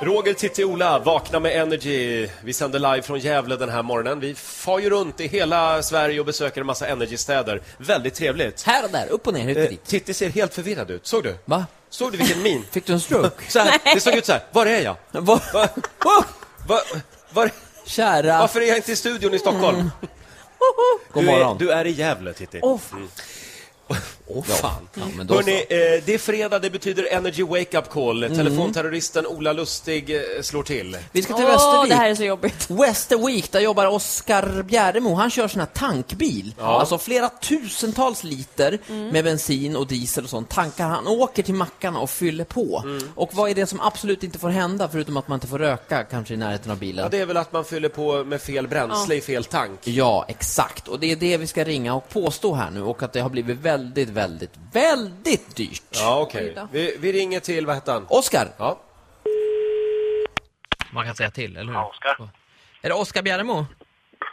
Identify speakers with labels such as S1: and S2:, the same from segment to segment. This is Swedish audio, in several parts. S1: Roger, Titti, Ola, vakna med Energy. Vi sänder live från Gävle den här morgonen. Vi far ju runt i hela Sverige och besöker en massa Energy-städer. Väldigt trevligt.
S2: Här och där, upp och ner, hit och
S1: Eh,
S2: dit.
S1: Titti ser helt förvirrad ut. Såg du?
S2: Va?
S1: Såg du vilken min?
S2: Fick du en stroke?
S1: Så här, det såg ut så här. Var är jag?
S2: Va?
S1: Va?
S2: Oh,
S1: Va? Var,
S2: kära...
S1: varför är jag inte i studion i Stockholm?
S2: Mm. God
S1: Du är,
S2: morgon.
S1: du är i Gävle, Titti.
S2: Åh, fan.
S1: Åh, fan.
S2: Ja, men då
S1: Hörrni, eh, det är fredag, det betyder Energy Wake Up Call.
S2: Mm.
S1: Telefonterroristen Ola Lustig eh, slår till.
S2: så. Vi ska till
S3: Åh,
S2: Västervik.
S3: det här är så jobbigt.
S2: Westerweek, där jobbar Oskar Bjäremo. Han kör sån här tankbil. Alltså flera tusentals liter
S3: Mm.
S2: med bensin och diesel och sånt tankar. Han åker till mackarna och fyller på.
S1: Mm.
S2: Och vad är det som absolut inte får hända, förutom att man inte får röka kanske i närheten av bilen?
S1: Ja, det är väl att man fyller på med fel bränsle i fel tank.
S2: Ja, exakt. Och det är det vi ska ringa och påstå här nu och att det har blivit väldigt, väldigt, väldigt dyrt.
S1: Ja, okej.
S3: Oj då.
S1: Vi, vi ringer till, vad hette han?
S2: Oskar,
S1: Ja.
S2: man kan säga till, eller hur?
S4: Ja, Oskar.
S2: Är det Oskar Bjäremo?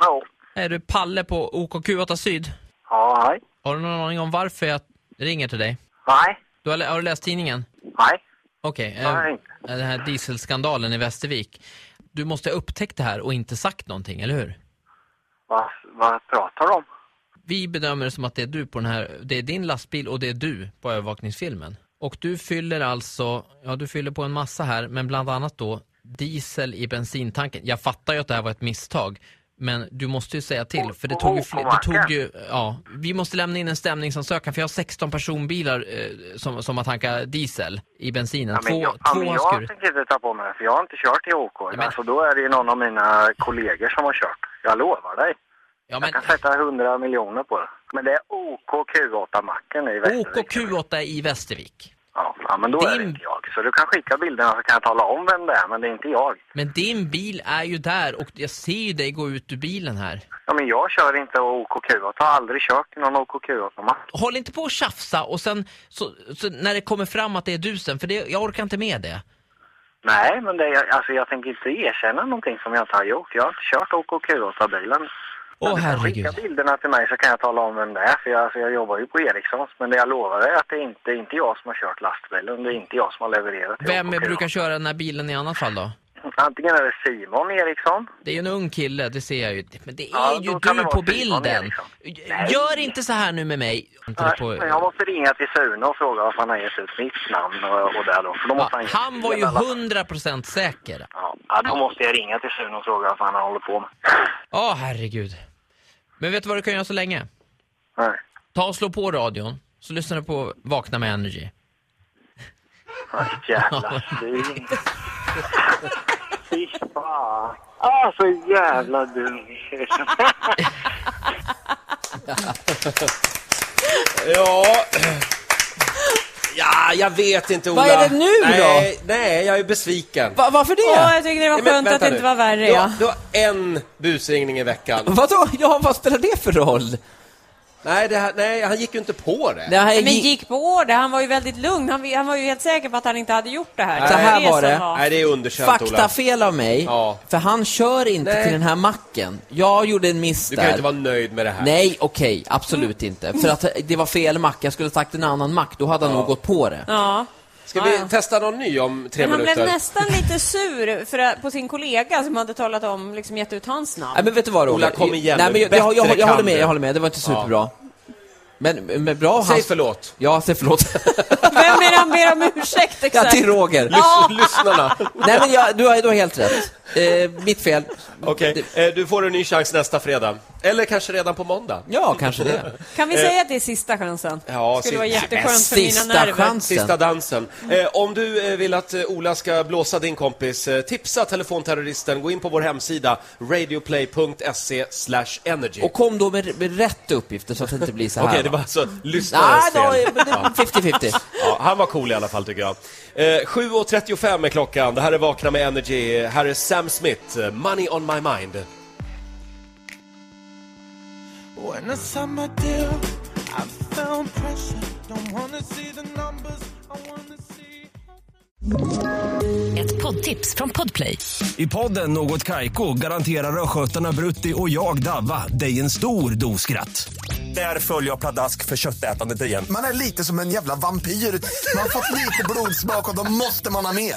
S4: Ja,
S2: Är du Palle på OKQ8 Syd?
S4: ja hej.
S2: Har du någon aning om varför jag ringer till dig?
S4: Nej,
S2: Du har, lä- har du läst tidningen?
S4: nej.
S2: Okej.
S4: Nej,
S2: eh,
S4: inte.
S2: den här dieselskandalen i Västervik. Du måste ha upptäckt det här och inte sagt någonting, eller hur?
S4: Vad, vad pratar de om?
S2: Vi bedömer det som att det är du på den här, det är din lastbil och det är du på övervakningsfilmen. Och du fyller alltså, ja du fyller på en massa här, men bland annat då diesel i bensintanken. Jag fattar ju att det här var ett misstag, men du måste ju säga till, för det tog ju fler, det tog ju, ja. Vi måste lämna in en stämningsansökan, för jag har 16 personbilar eh, som, som har tankat diesel i bensinen.
S4: Ja, men
S2: två
S4: jag, ja,
S2: två
S4: men
S2: har
S4: jag
S2: skurit.
S4: tänker inte ta på mig det, för jag har inte kört i OK.
S2: men-
S4: men... Så då är det ju någon av mina kollegor som har kört. Jag lovar dig.
S2: Ja,
S4: Jag
S2: men
S4: kan sätta 100 miljoner på det. Men det är OK Q8-macken i Västervik.
S2: OKQ8 i Västervik.
S4: Ja, ja, men då är det
S2: Din-
S4: inte jag. Så du kan skicka bilderna så kan jag tala om vem det är, men det är inte jag.
S2: Men din bil är ju där och jag ser ju dig gå ut ur bilen här.
S4: Ja, men jag kör inte OK Q8. Jag har aldrig kört i någon OK Q8-mack.
S2: håll inte på och tjafsa och sen så, så när det kommer fram att det är du sen, för det, jag orkar inte med det.
S4: Nej, men det, är- alltså, jag tänker inte erkänna någonting som jag inte har gjort. Jag har inte kört OK Q8-bilen.
S2: Åh
S4: Men du kan
S2: herregud.
S4: Skicka bilderna till mig så kan jag tala om vem det är. För jag, alltså, jag jobbar ju på Ericssons. Men det jag lovar är att det är inte, inte jag som har kört lastbilen. Det är inte jag som har levererat. till
S2: Vem
S4: OK.
S2: brukar köra den här bilen i annat fall då?
S4: Antingen är det Simon Eriksson.
S2: Det är ju en ung kille, det ser jag ju. Men det är
S4: Ja,
S2: ju
S4: då kan
S2: du
S4: det
S2: på
S4: vara Simon
S2: bilden.
S4: Eriksson.
S2: Gör inte så här nu med mig. Inte det på-
S4: liksom- Men jag måste ringa till Sune och fråga varför han har gett ut mitt namn och, och det då. För
S2: Ja,
S4: då måste han,
S2: han var ju
S4: Ja,
S2: 100% säker.
S4: Ja, då måste jag ringa till Sune och fråga varför han håller på med.
S2: Ja, herregud. Men vet du vad du kan göra så länge?
S4: Nej.
S2: Ta och slå på radion, så lyssnar du på Vakna med Energy.
S4: Vad jävla svin. Fy fan. Ah, så jävla dum.
S1: Ja. Ja, jag vet inte Ola.
S2: Vad är det nu då?
S1: nej, då? Nej, jag är besviken.
S2: Va, varför
S3: Åh,
S2: det?
S3: jag tycker det var
S1: Nej, men
S3: skönt att
S1: vänta
S3: det inte
S1: nu.
S3: var värre.
S1: Du har-
S3: Ja.
S1: Du har en busringning i veckan.
S2: Vadå? Ja, vad spelar det för roll?
S1: Nej, det här, nej, han gick ju inte på det.
S2: Det här
S3: Men
S2: gi-
S3: gick på det, han var ju väldigt lugn. Han, han var ju helt säker på att han inte hade gjort det här.
S2: Så här
S3: som
S2: var det.
S1: Nej, det är underkänt Ola.
S2: Faktafel av mig,
S1: Ja.
S2: för han kör inte
S1: Nej.
S2: till den här macken. Jag gjorde en miss
S1: Du kan ju
S2: där.
S1: inte vara nöjd med det här.
S2: Nej, okej, absolut inte. För att det var fel mack, jag skulle ha sagt en annan mack, då hade han nog gått på det.
S3: Ja.
S1: Ska vi
S3: Ja, ja.
S1: testa någon ny om tre
S3: Men han
S1: minuter?
S3: blev nästan lite sur för, att- på sin kollega som hade talat om, liksom gett ut hans namn.
S2: Nej, men vet du vad Roger?
S1: Ola, kom igen
S2: Nej,
S1: nu.
S2: men jag, jag, jag,
S1: Bättre
S2: jag håller
S1: kan
S2: med,
S1: du.
S2: jag håller med, det var inte superbra. Men, men bra
S1: Säg
S2: hans...
S1: förlåt.
S2: Ja, säg förlåt.
S3: Vem är det han ber om ursäkt
S2: ja,
S3: exakt?
S2: till Roger.
S1: Lys- Lyssnarna.
S2: Nej, men jag, du har du har helt rätt. Eh, mitt fel.
S1: Okej, eh, du får en ny chans nästa fredag. Eller kanske redan på måndag.
S2: Ja, kanske det.
S3: Kan vi säga att det är sista chansen?
S1: Ja,
S3: Skulle vara
S1: sista-
S3: jätteskönt för mina
S2: Sista
S3: nerver.
S2: chansen.
S1: Sista dansen. Eh, om du eh, vill att eh, Ola ska blåsa din kompis, eh, tipsa telefonterroristen. Gå in på vår hemsida, radioplay.se energy.
S2: Och kom då med, med rätt uppgifter så att det inte blir så här.
S1: Okej, det
S2: va?
S1: var alltså lyssnarens
S2: Nej, då
S1: fel.
S2: är det 50-50.
S1: Ja, han var cool i alla fall tycker jag. Eh, 7.35 är klockan. Det här är Vakna med Energy. Här är Sam Smith, eh, Money on my mind.
S5: When I sign my deal, I found pressure. Don't wanna see the numbers, I wanna see.
S6: Ett poddtips från Podplay.
S7: I podden Något Kaiko garanterar östgötarna Brutti och jag, Davva, dig en stor dos skratt. Där följer jag pladask för köttätandet igen.
S8: Man är lite som en jävla vampyr. Man har fått lite blodsmak och då måste man ha mer.